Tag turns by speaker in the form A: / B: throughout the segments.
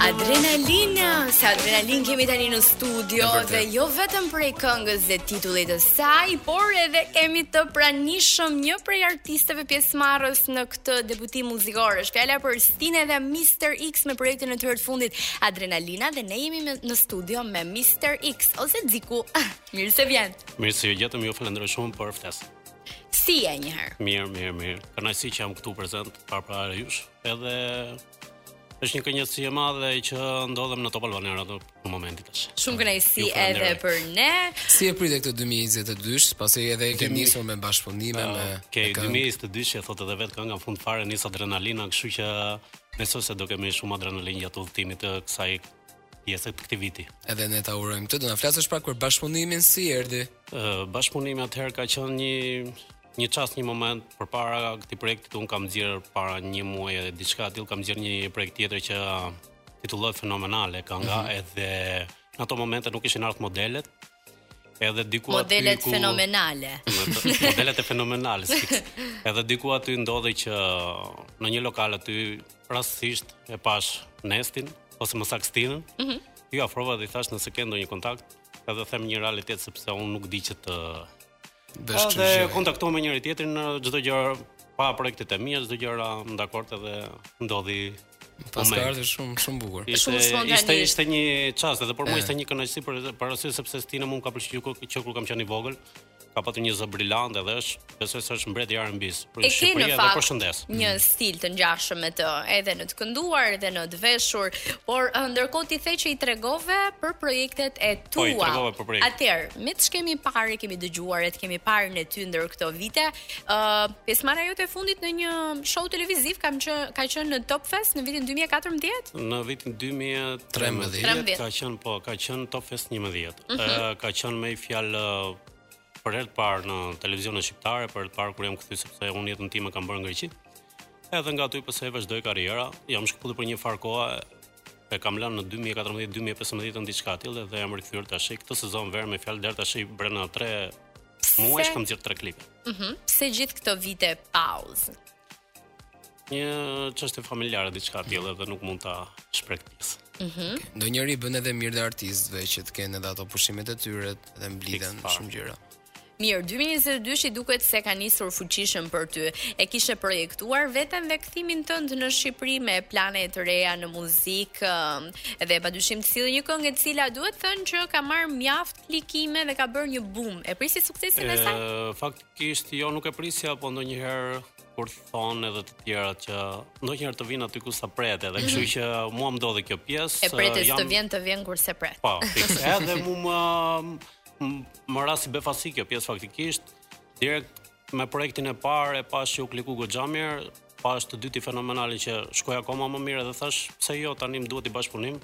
A: Adrenalina, sa adrenalin kemi tani në studio
B: E vërtet.
A: dhe jo vetëm prej këngës dhe titullit të saj, por edhe kemi të pranishëm një prej artisteve pjesëmarrës në këtë debutim muzikor. Është fjala për Stine dhe Mr X me projektin e tyre të fundit Adrenalina dhe ne jemi me, në studio me Mr X ose Ziku. Mirë se vjen.
B: Mirë se ju gjetëm, ju falenderoj shumë për ftesën.
A: Si je një herë?
B: Mirë, mirë, mirë. Kënaqësi që jam këtu prezant para para jush, edhe është një kënaqësi e madhe që ndodhem në Top Albania ato në momentin tash.
A: Shumë kënaqësi
B: Ju
A: edhe
B: falenderoj.
A: për ne.
C: Si e pritet këtë 2022, pasi edhe e ke
B: Demi-
C: nisur me bashkëpunime me
B: Ke
C: me këngë.
B: 2022 që thotë edhe vetë kënga në fund fare nis adrenalina, kështu që besoj se do kemi shumë adrenalin gjatë udhëtimit të kësaj pjese të këtij viti.
C: edhe ne ta urojmë këtë. Do na flasësh pak për bashkëpunimin si erdhi?
B: Ë, bashkëpunimi atëherë ka qenë një një çast, një moment përpara këtij projekti un kam nxjerr para një muaji e diçka aty kam nxjerr një projekt tjetër që titullohet fenomenale kënga
A: Mhm.
B: edhe në ato momente nuk ishin ardhur modelet edhe diku
A: Modelet
B: aty ku
A: fenomenale.
B: modelet e fenomenale sfiks. edhe diku aty ndodhi që në një lokal aty rastësisht e pash Nestin ose më sakstinën ju afrova dhe i thash nëse ke ndonjë kontakt edhe them një realitet sepse unë nuk di që të
C: Dhe është
B: Edhe
C: kështu gjë.
B: kontaktova me njëri tjetrin në çdo gjë pa projektet e mia, çdo gjëra dakord edhe ndodhi
C: Pas ka
B: moment.
C: ardhur shumë shumë bukur.
A: Shumë Eh. spontanisht.
B: ishte ishte një çast edhe por mua ishte një kënaqësi për për arsye sepse Stina mua më ka pëlqyer kur- që kur kam qenë i vogël ka patur një zë brillante dhe është besoj se është mbret i R&B-s për
A: E ke në
B: Shqipëri edhe Mhm. për
A: fakt
B: shëndes.
A: një stil të ngjashëm me të, edhe në të kënduar, edhe në të veshur, por ë, ndërkohë ti the që i tregove për projektet e tua.
B: Po, i tregova për projektet.
A: Atëherë, me ç'kemi kemi parë, e kemi dëgjuar, e të kemi parë në ty ndër këto vite, ë uh, pjesëmarrja jote e fundit në një show televiziv kam që ka qenë në Top Fest në vitin 2014.
B: Në vitin 2013
A: 13.
B: ka qenë po, ka qenë Top Fest 11. Ë, ka qenë me i fjalë ë, për herë të parë në televizionin shqiptare, për herë të parë kur jam kthy sepse unë jetën time kam bërë në Greqi. Edhe nga aty pse vazhdoi karriera, jam shkëputur për një farë koha e kam lënë në 2014-2015 në diçka tillë dhe jam rikthyer tash këtë sezon verë me fjalë deri tash brenda 3 muajsh kam nxjerr 3 klipe.
A: Mhm. Pse gjithë këto vite pauzë?
B: Një çështje familjare diçka tillë dhe nuk mund ta shpreh këtë pjesë.
C: Ndonjëri bën edhe mirë dhe artistëve që të kenë edhe ato pushimet e tyre dhe mblidhen
B: Fix fare.
C: shumë gjëra.
A: Mirë, 2022 i duket se ka nisur fuqishëm për ty. E kishe projektuar veten dhe kthimin tënd në Shqipëri me plane të reja në muzikë ëm, dhe padyshim të sillë një këngë e cila duhet thënë që ka marrë mjaft klikime dhe ka bërë një boom. E prisi suksesin e saj?
B: E, faktikisht jo nuk e prisja, po ndonjëherë kur thonë edhe të tjerat që ndonjëherë të vinë aty ku sa pretet, edhe kështu që mua më ndodhi kjo pjesë.
A: Mhm. E pretes
B: jam-
A: të vjen të vjen kur se pret.
B: Po, fiks. Edhe mu më m- më rasti befasi kjo pjesë faktikisht direkt me projektin e parë e pash që u kliku goxha mirë, pash të dyti fenomenalin që shkoj akoma më mirë dhe thash pse jo tani më duhet i bashkëpunim.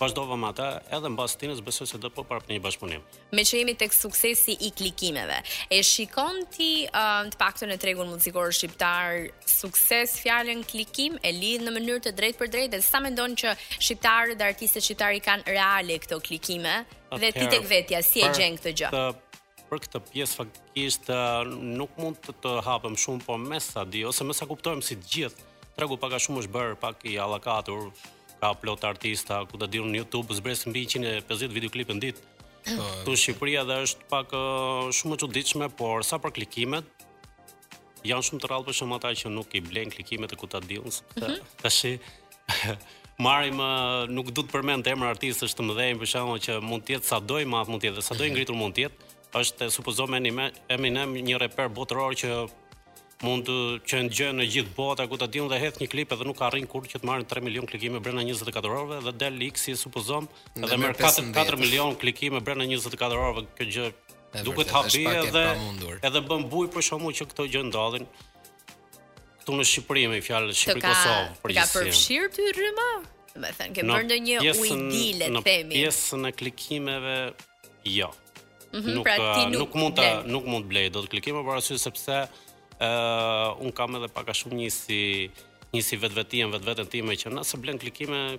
B: Vazhdova me ata, edhe mbas tinës besoj se do po parap një bashkëpunim.
A: Me që jemi tek suksesi i klikimeve. E shikon ti ëm, të paktën në tregun muzikor shqiptar sukses fjalën klikim e lidh në mënyrë të drejtë për drejtë dhe sa mendon që shqiptarët dhe artistët shqiptar i kanë reale këto klikime dhe ti
B: Atëherë,
A: tek vetja si e
B: për
A: gjen këtë gjë?
B: këtë- për këtë pjesë faktikisht ë, nuk mund të të hapem shumë, po me sa di ose me sa kuptojmë si të gjithë, tregu pak a shumë është bërë pak i allakatur, ka plot artista, ku të diun në YouTube zbres mbi 150 videoklipe në ditë. Ktu në Shqipëri edhe është pak ë, shumë e çuditshme, por sa për klikimet janë shumë të rrallë për shumë ata që nuk i blejnë klikimet e ku ta diun, sepse tashi marrim ë, nuk du të përmend emra artistësh të mëdhenj për shembull që mund të jetë sado i madh mund të jetë, dhe sado i ngritur mund të jetë, është e supozoj me Eminem- Eminem një reper botëror që mund të që ndgjën në gjithë bota ku ta diun dhe hedh një klip edhe nuk arrin kurrë që të marrin 3 milion klikime brenda 24 orëve dhe del X-i supozom edhe merr
C: merr
B: 4 4
C: 15.
B: milion klikime brenda 24 orëve kjo gjë
C: E
B: duket
C: vërtet, është
B: habi
C: pak e
B: edhe
C: pamundur.
B: edhe bën buj për shkakun që këto gjë ndodhin këtu në Shqipëri me fjalë
A: Të
B: Shqipëri
A: ka
B: Kosovë
A: të ka përfshirë ty rryma? Do të thënë ke bërë ndonjë ujdile
B: në
A: themi.
B: pjesën e klikimeve jo. nuk,
A: pra ti
B: eh,
A: nuk
B: nuk, mund ta
A: blen.
B: nuk mund blej dot klikime për arsye sepse ë un kam edhe pak a shumë një si një si vetvetian vetveten time që nëse blen klikime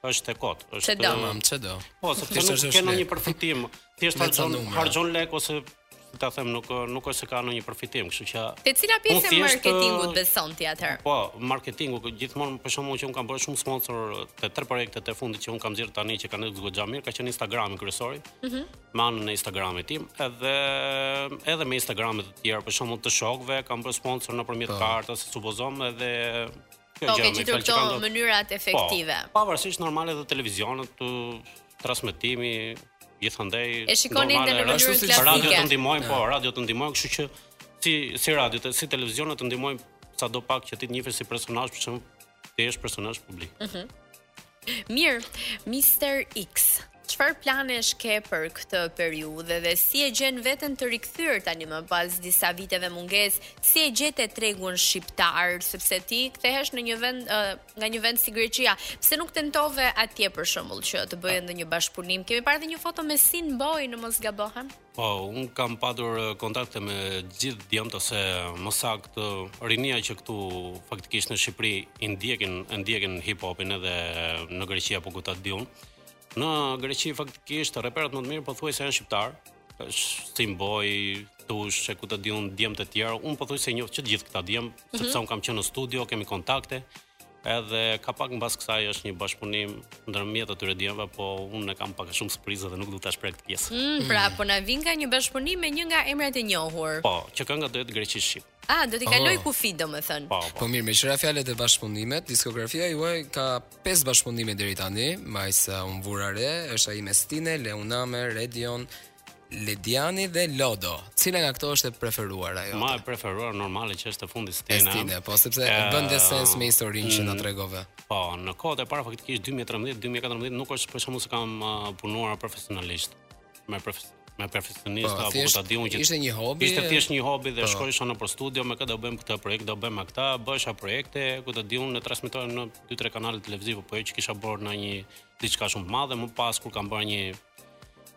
B: është e kot, është
A: do.
C: Mam, ç'do?
B: Po, sepse
C: Thjesht
B: nuk
C: është
B: ke
C: lek.
B: ndonjë përfitim. Thjesht
C: Me ca
B: harxhon
C: numra.
B: harxhon lek ose si ta them, nuk nuk është se ka ndonjë përfitim, kështu që
A: Te cila pjesë
B: Unë
A: e
B: thjesht,
A: marketingut
B: ë,
A: beson ti atëherë?
B: Po, marketingu kë- gjithmonë për shembull që un kam bërë shumë sponsor te tre projektet e fundit që un kam xhirë tani që kanë ecur goxha mirë, ka qenë Instagrami kryesori. Mhm. me anën e Instagramit tim, edhe edhe me Instagramet të tjera, për shembull të shokëve, kam bërë sponsor nëpërmjet
C: Po.
B: kartës, supozom edhe kjo
A: Po
B: gjë,
A: ke
B: me
A: gjetur
B: fjalë që
A: këto
B: ka ndodhur.
A: mënyrat efektive.
B: Po, pavarësisht normale dhe televizionet, të transmetimi, gjithandej
A: E shikoni
B: normale,
A: edhe në
C: mënyrën
B: ashtu si
C: klasike.
B: Radio të ndihmojnë, po, radio të ndihmojnë, kështu që si si radio, të- si televizionet të ndihmojnë sado pak që ti të njihesh si personazh, për shembull, ti je personazh publik.
A: Mirë, Mr. X, çfarë planesh ke për këtë periudhë dhe si e gjen veten të rikthyer tani më pas disa viteve mungesë? Si e gjetë tregun shqiptar, sepse ti kthehesh në një vend ë, nga një vend si Greqia, pse nuk tentove atje për shembull që të bëje ndonjë bashkëpunim? Kemi parë edhe një foto me Sin Boy, në mos gabohem.
B: Po, un kam patur eh, kontakte me gjithë djemtë ose më saktë rinia që këtu faktikisht në Shqipëri i ndjekin e ndjekin hip hopin edhe në Greqi apo ku ta diun. Në Greqi faktikisht reperat më të mirë pothuajse janë shqiptar. Është Simboj, Tush, e ku ta diun djemtë të tjerë. Un pothuajse e njoh që të gjithë këta djem, sepse un kam qenë në studio, kemi kontakte. Edhe ka pak mbas kësaj është një bashkëpunim ndërmjet atyre djemve, po unë e kam pak a shumë surprizë dhe nuk du ta shpreh këtë pjesë.
A: Mm, pra, po na vin nga një bashkëpunim me një nga emrat e njohur.
B: Po, që kënga do jetë greqisht shqip.
A: Ah, do t'i kaloj
C: Oh.
A: kufi domethënë.
B: Po, po.
C: Po mirë, me qëra fjallet e bashkëpundimet, diskografia juaj ka 5 bashkëpundime deri tani, Majsa unë vura re, është ai me Stine, Leuname, Redion, Lediani dhe Lodo. Cila nga këto është e preferuara jo?
B: Ma e preferuar normale që është e fundit Stina.
C: Stine, po sepse
B: Ë,
C: bën dhe sens me historinë që na tregove.
B: Po, në kohët e para faktikisht 2013-2014 nuk është për shkakun se kam uh, punuar profesionalisht me profes me profesionist
C: Po,
B: apo ku
C: thjesht
B: ta diun që
C: ishte një hobi,
B: Ishte thjesht një hobi dhe
C: po.
B: shkohesha në për studio me këtë do bëjmë këtë projekt, do bëjmë këtë, bësha projekte ku të diun ne transmetohen në 2-3 kanale televizive, po jo që kisha bërë në një diçka shumë të madhe, më pas kur kam bërë një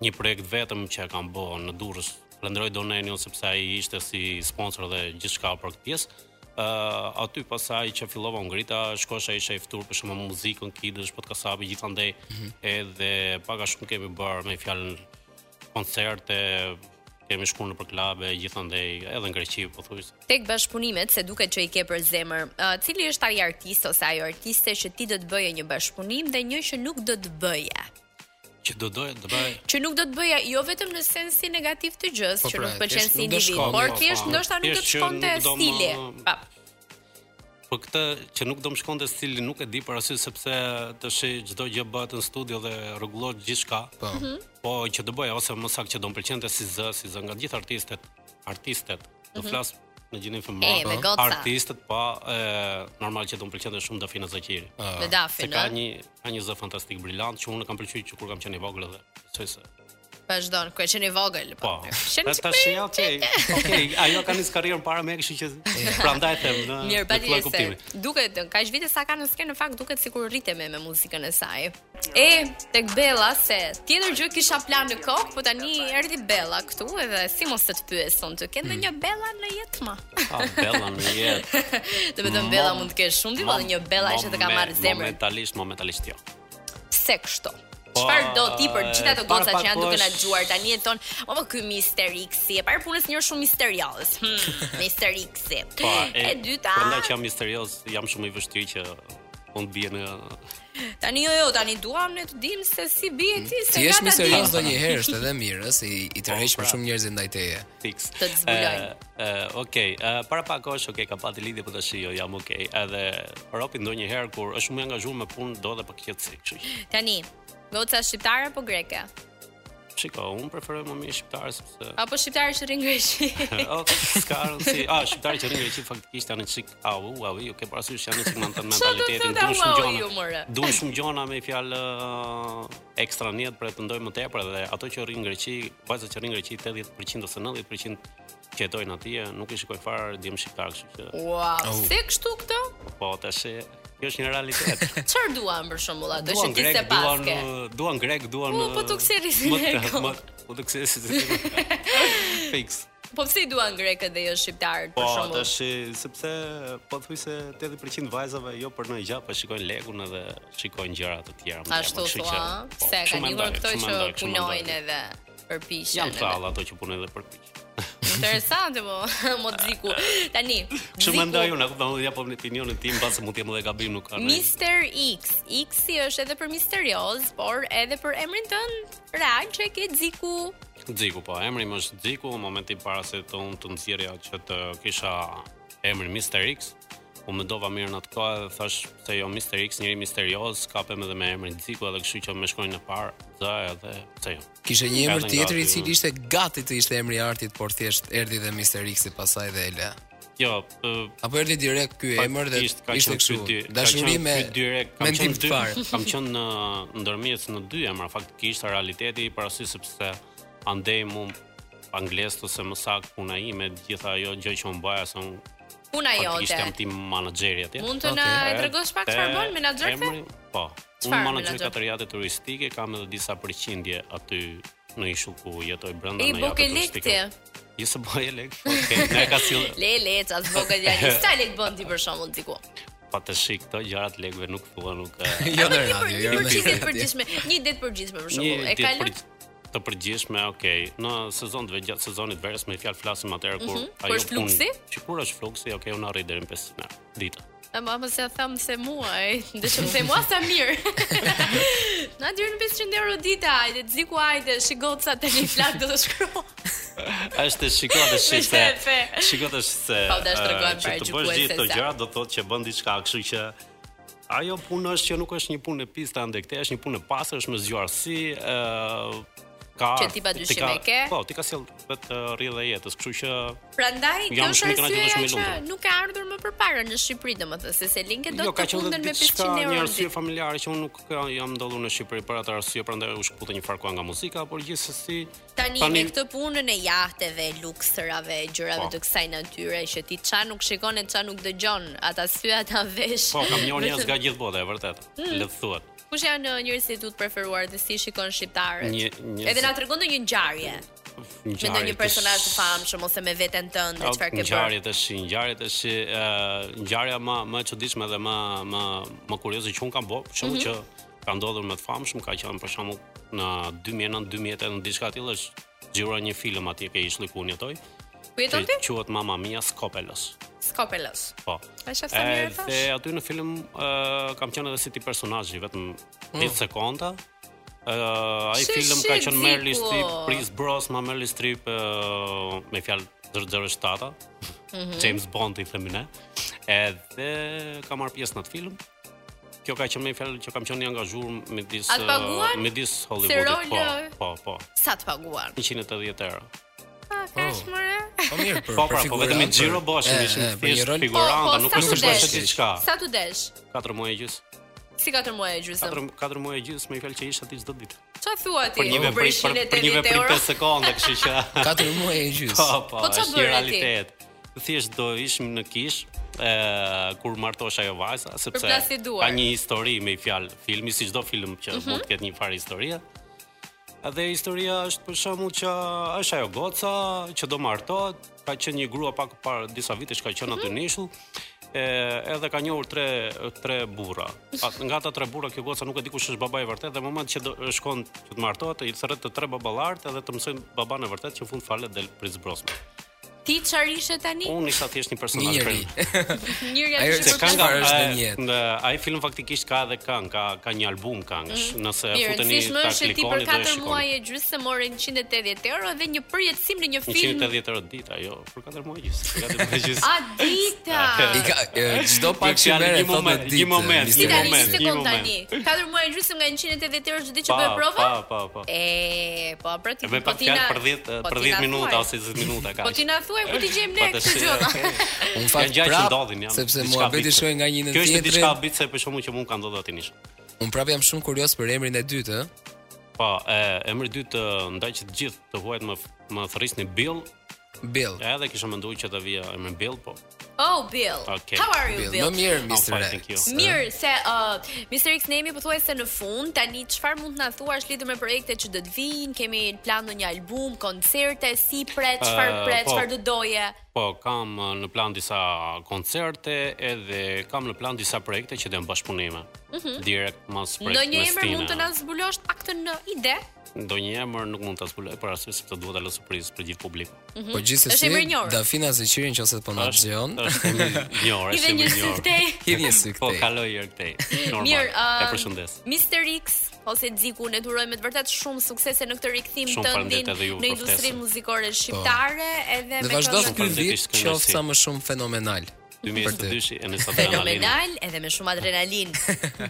B: një projekt vetëm që e kam bërë në Durrës. Falenderoj Donenin sepse ai ishte si sponsor dhe gjithçka për këtë pjesë. Ë aty pasaj që fillova u ngrita, shkosha isha i ftuar për shkakun muzikën, kidësh, podcastapi gjithandej, edhe pak a shumë kemi bërë me fjalën koncerte, kemi shkuar në për klabe gjithandej, edhe në Greqi po pothuajse.
A: Tek bashkëpunimet, se duket që i ke për zemër, uh, cili është ai artist ose ajo artiste që ti do të bëje një bashkëpunim dhe një që nuk do të bëje?
B: Që do doja të bëj
A: Që nuk do të bëja jo vetëm në sensi negativ të gjës,
C: Po
A: që
C: pra,
A: nuk pëlqen
C: thjesht
A: si
C: nuk do
A: individ,
C: shkon,
A: por
B: po,
A: thjesht
B: po.
A: ndoshta nuk do
B: Thjesht
A: të
B: që
A: shkonte
B: nuk do më-
A: stili. Pa,
B: Po këtë që nuk do më shkonte stili nuk e di për arsye sepse tash çdo gjë bëhet në studio dhe rregullohet gjithçka.
C: Po.
B: Po që do bëja ose më saktë që do më pëlqente si zë, si zë nga gjithë artistet, artistet. Do flas në gjinin
A: Mhm. E, me
B: femor.
A: goca.
B: Artistet pa e, normal që do më pëlqente shumë Dafina Zakiri.
A: me
B: Se
A: dafin,
B: ka
A: ë.
B: një ka një zë fantastik brillant që unë e kam pëlqyer që kur kam qenë i vogël edhe. besoj se
A: Vazhdon, ku e qenë i vogël.
B: Po.
A: Shen
B: Ta tash ja, okay. Okej, ajo ka nis karrierën para me, kështu që prandaj them në
A: Mirë,
B: në
A: pa
B: këtë lloj
A: tjetër
B: kuptimi.
A: se duket kaq vite sa ka në skenë, në fakt duket sikur rritemi me muzikën e saj. E tek Bella se tjetër gjë kisha plan në kokë, po tani erdhi Bella këtu edhe si mos të të pyes sonte, ke ndonjë
B: Hmm.
A: Bella në jetë më?
B: Ah, bella në jetë.
A: Do të thënë Bella mund të kesh shumë ditë, edhe një Bella që të ka
B: Momen-
A: marrë zemrën.
B: Momentalisht, momentalisht jo.
A: Pse kështu?
B: Po,
A: Çfarë do ti për gjithë ato
B: e,
A: goca
B: para
A: që janë duke
B: pak
A: na
B: po është-
A: dëgjuar tani e thon, "O po ky Mister X, e parë punës një shumë misterioz." Hmm, Mister X.
B: Po,
A: e, dyta.
B: Prandaj që jam misterioz, jam shumë i vështirë që unë bie në
A: Tani jo jo, tani duam ne të dim se si bie ti, se
C: Ti
A: nga
C: je
A: ta
C: misterioz
A: dim.
C: ndonjëherë, është edhe mirë, ëh, se i, i tërheq
B: pra.
C: për shumë njerëz ndaj teje.
B: fix.
A: Të të zbulojnë.
B: Ë, ë, Okej, ë, para pak kohësh, okej, ka pati lidhje, po tash jo, jam okej. Edhe ropi ndonjëherë kur është shumë i angazhuar me punë, do edhe për qetësi, kështu që.
A: Tani, goca shqiptare apo greke?
B: Shiko, unë preferoj më mirë shqiptar sepse
A: Apo shqiptare që rrin greqi?
B: Oh, s'ka rëndësi. Ah, shqiptari që rrinë greqi faktikisht janë çik au, au, ju ke parasysh janë çik me atë mentalitetin,
A: thotë
B: duan shumë
A: au, ju, more?
B: gjona. Duan shumë gjona me fjalë ë, ekstra njet për të ndojmë më tepër dhe ato që rrinë greqi, vajzat që rrinë greqi 80% ose 90% që jetojnë atje, nuk i shikojnë fare djem shqiptar, kështu që
A: Ua,
C: Au.
A: pse kështu këto?
B: po tash e, kjo është një realitet.
A: Çfarë duam për shembull ato që
B: Duan
A: ti
B: grek,
A: se
B: duan
A: paske?
B: ë, duan grek, duan
A: Po, po
B: ë,
A: të kseris
B: më të-
A: greko.
B: më- Po të kseris. Fix.
A: Po pse i duan grekët dhe jo shqiptarët
B: Po,
A: për shembull?
B: tash sepse po thuj se 80% vajzave jo për në gjë, po shikojnë lekun edhe shikojnë gjëra të tjera. më
A: Ashtu
B: tepër, kështu
A: thua,
B: që, po,
A: se
B: kështu
A: kanë
B: mendoj,
A: njohur këto që
B: kështu mendoj, kështu mendoj.
A: punojnë edhe përpishen.
B: Janë
A: edhe-
B: thalla ato që punojnë edhe për piq.
A: Interesante po, moziku. Tani.
B: Kështu
A: Ziku,
B: mendoj unë, a kupton, unë japom po opinionin tim, pasi mund të jem edhe gabim, nuk ka. ndonjë-
A: Mr. X. X i është edhe për misterioz, por edhe për emrin tënd, real që e ke Ziku.
B: Xiku, po, emri më është Xiku, në momentin para se të unë të nxjerrja që të kisha emrin Mr. X, u mendova mirë në atë kohë dhe thash se jo Mr. X, njëri misterioz, kapem edhe me emrin Xiku, edhe kështu që më shkojnë në parë, dhe edhe pse jo.
C: Kishte një
B: Ka
C: emër
B: dhe
C: tjetër i
B: ngati,
C: cili ishte gati të ishte emri i artit, por thjesht erdhi dhe Mr. X i pasaj dhe e la.
B: Jo, p-
C: Apo erdhi direkt ky emër dhe
B: Faktikisht, ka
C: ishte
B: qenë ky
C: kështu.
B: dy-
C: Dashuri
B: ka qenë
C: me
B: ky direkt, kam
C: me ndim
B: qenë
C: të
B: dy,
C: parë.
B: kam qenë në ndërmjetës në dy emra faktikisht realiteti parasi sepse andej mu anglisht ose më saktë puna ime, gjitha ajo gjë që unë bëja se unë
A: Puna
B: faktikisht
A: jote.
B: jam tim menaxheri atje.
A: Jo, Mund të na
C: Okej.
A: tregosh pak
B: Te
A: çfarë bën menaxher the?
B: emri- Po. Unë
A: Çfarë
B: menaxher
A: menaxher?
B: kateriate turistike, kam edhe disa përqindje aty në ishull ku jetoj brenda
A: I
B: në
A: boke
B: jatë turistike.
A: lekti.
B: Jo se bëj lekt, po okay, ne ka sill
A: Le le, ça zvoga djali. Sa lek bën ti për shembull Ziku?
B: pa të shik këto gjërat lekëve nuk thuan nuk e-
C: Jo
A: Një
C: në
A: për-
C: radio,
A: një
C: jo
A: përgjigje
C: në
A: të
C: radio.
A: përgjithshme, një det përgjithshme për
B: Një
A: shembull. E
B: ditë
A: kalon
B: përgj- të përgjithshme, okay. Në sezon të gjatë sezonit verës me fjalë flasim atëherë kur
A: Kur është Mhm, fluksi?
B: që kur është fluksi, okay, unë arrit deri në 5 ditë. Ditë.
A: E ma më se thamë se muaj, dhe që më the mua sa mirë. Na dyrë në 500 euro dita, ajde, të ziku ajde, shiko të sa të një flak do të shkro.
B: Është shikoj të shih se
A: shefe.
B: shikoj të shih se
A: Pa, u dash
B: e,
A: tregojmë
B: që
A: para
B: të bësh
A: gjykuesve
B: gjithë këto
A: sa.
B: gjëra do të thotë që bën diçka, kështu që ajo punë është që nuk është një punë e pista ande këtë, është një punë e pastër, është me zgjuarsi, ë ka
A: Që ti pa
B: ti
A: dyshim
B: ka-
A: e ke?
B: Po, ti ka sjell vetë e, rrjedhë e jetës, kështu që
A: Prandaj, kjo
B: Jam
A: është
B: shumë i kënaqur dhe
A: arsyeja
B: shumë i
A: që
B: lumtur.
A: nuk ka ardhur më përpara në Shqipëri, domethënë se Selinke do
B: jo,
A: të
B: ka qenë
A: funden me
B: edhe
A: 500
B: diçka një
A: euro. në
B: arsye
A: ditë.
B: familjare që unë nuk ka- jam ndodhur në Shqipëri për atë arsye, prandaj u shkputë një farë kohë nga muzika, por gjithsesi
A: Tani me këtë punën e jahteve, luksërave, gjërave
B: Po.
A: të kësaj natyre që ti ça nuk shikon e ça nuk dëgjon, ata sy ata vesh.
B: po kam njohur njerëz nga gjithë bota, e vërtet.
A: Hmm.
B: Le të thuat.
A: Kush janë ë, njerëzit tu të preferuar dhe si shikon shqiptarët?
B: Një- njerëzit-
A: Edhe na tregon ndonjë ngjarje. Me ndonjë personazh të famshëm ose me veten tënde,
B: Au,
A: çfarë ke bërë?
B: Ngjarjet është, ngjarjet është ë ngjarja më më e çuditshme dhe më më më kurioze që un kam bë, për
A: Mhm.
B: shembull që ka ndodhur me të famshëm, ka qenë për shembull në 2009 2008 në diçka tillë është xhirua një film atje ke ishli ku unë jetoj.
A: Ku jeton ti?
B: që Quhet Mamma Mia Skopelos.
A: Skopelos.
B: Po.
A: E shef sa mirë e thash.
B: Dhe aty në film ë kam qenë edhe si ti personazhi, vetëm
C: Hmm.
B: 10 sekonda. ë ai
A: Shi-
B: film ka
A: shi,
B: qenë Meryl
A: Ziku.
B: Streep, Chris Brosnan, Meryl Streep ë me fjalë 007.
A: Mhm.
B: James Bond i themi ne. Edhe kam marr pjesë në atë film. Kjo ka qenë me fjalë që kam qenë i angazhuar midis
A: A të paguan?
B: ë, midis Hollywoodit. Po,
A: rol,
B: po, po.
A: Sa të paguar?
B: 180 euro.
A: Ah, kaç
C: Oh.
A: mëre?
C: Po mirë për
B: Po,
C: për
B: pra, po vetëm i
C: figurant,
B: Giro
C: për-
B: Bosh,
C: E,
B: ishin
C: e, eh, për një
B: thjesht
C: rol-
B: figuranta,
A: Po, po,
B: nuk
A: sa
B: është
A: të
B: se bështe
A: desh.
B: diçka.
A: Sa tu desh?
B: 4 muaj gjys.
A: Si 4 muaj e gjysmë.
B: 4 4 muaj gjysmë me fjalë që isha ti çdo ditë.
A: Çfarë thua ti?
B: Për një
A: Për
B: veprim për, për një
A: 180
B: veprim
A: euro?
B: 5 sekonda, kështu që
C: Katër muaj e gjys.
B: po, po,
A: Po, ç'a
B: është
A: bëre ti?
B: një realitet. Thjesht do ishim në kish, ë kur martosh ajo vajza, sepse
A: Përplasi duar.
B: ka një histori me fjalë, filmi si çdo film që mund të ketë një farë historie. Dhe historia është për shembull që është ajo goca që do martohet, ka qenë një grua pak para disa vitesh ka qenë aty në ishull. E, edhe ka njohur tre tre burra. At, nga ata tre burra kjo goca nuk e di kush është babai i vërtet dhe në moment që do, shkon që të martohet i thret të tre baballarët edhe të mësojnë baban e vërtet që në fund falet del Prince Brosman.
A: Ti çfarë ishe tani?
B: Unë isha thjesht një
C: Një
B: personazh
C: njeri.
A: Njëri
C: Ajo
A: atë
C: që
A: që
B: Se
C: ka
A: ka
B: kënga
C: Çfarë është
B: është
C: në jetë?
B: në ai film faktikisht ka edhe këngë, ka ka një album këngësh. Nëse
A: Mhm. Mirë,
B: futeni
A: rëndësishme
B: ta
A: është që ti për
B: klikoni dhe
A: 4 muaj
B: shikoni.
A: e gjysmë morën 180 euro dhe një përjetësim në një film.
B: 180 euro ditë ajo, për 4 muaj gjys. Për 4 muaj gjys.
A: A dita.
C: I ka e, çdo pak që
B: Fjalë,
C: merr
B: një
C: thotë në
B: moment, një
C: ditë.
B: moment,
C: Mr.
B: një
A: Dita
C: X.
A: një
B: moment, një
A: sekond
B: moment.
A: tani. 4 muaj e gjysmë nga 180 euro çdo ditë që
B: Pa,
A: bëj prova?
B: Pa, pa, pa.
A: E, po pra ti.
B: Me
A: po
B: pak
A: ti
B: fjalë
A: na-
B: për 10
A: po
B: për
A: ti na
B: 10 minuta
A: thuaj.
B: ose 20 minuta kaq.
A: Po ti na thuaj ku ti gjejmë ne
B: Po,
A: këtë
B: tash,
A: gjë.
B: okay.
C: Unë
B: Janë
C: fakt
B: gjëra që
C: prap,
B: ndodhin janë.
C: sepse
B: diçka
C: muhabeti
B: bitse.
C: shkoi nga një në
B: Kjo është
C: tjetrin.
B: diçka bitse për shkakun që mund ka ndodhur aty nish.
C: Unë prapë jam shumë kurios për emrin e dytë, ë.
B: Po, e, emri i dytë ë, ndaj që të gjithë të huajt më më thërrisni Bill,
C: Bill.
B: edhe kisha menduar që të vija emri Bill, po
A: Oh Bill.
B: Okay.
A: How are you
C: Bill.
A: Bill?
C: Më mirë
B: Oh,
C: Mr.
B: fine, thank you.
C: X. ë.
A: Mirë, se uh, Mr. X Nemi pothuajse në fund, tani çfarë mund të na thuash lidhur me projektet që do të vinë? Kemi plan ndonjë album, koncerte, si pret, çfarë
B: Eh,
A: pret,
B: po.
A: çfarë do doje?
B: Po, kam eh, në plan disa koncerte edhe kam në plan disa projekte që janë bashkëpunime. Direkt mas projekt
A: Mhm. Ndonjë
B: me
A: emër
B: Stina.
A: mund të na zbulosh pak të në ide?
B: Ndonjë emër nuk mund ta zbuloj për arsye se duhet ta lë surprizë për gjithë publikun.
C: Po
A: mhm. Është
C: gjithsesi,
A: emri i njohur.
C: Dafina Zeqiri nëse po na dëgjon,
B: Është një njërë,
A: I dhe
B: është
A: një
B: një
A: syfte.
B: njërë.
C: hidhje sy
B: Po,
C: këtej.
B: kaloj herë këtej. Normal.
A: Mirë, um,
B: e
A: ë
B: përshëndes.
A: Mr. X ose Xiku ne durojmë me të vërtet shumë suksese në këtë rikthim
B: Shumë
A: të
B: faleminderit edhe juve
A: në
B: për
A: industrinë
B: ftesën.
A: muzikore shqiptare edhe
C: Dhe
A: me
C: vazhdo
A: këngë-
C: ky
B: po Shumë
C: vit
B: faleminderit,
C: qoftë
B: kënaqësi.
C: sa më shumë fenomenal. Për ty.
B: 2022 e nësë adrenalinë.
A: fenomenal edhe me shumë adrenalinë.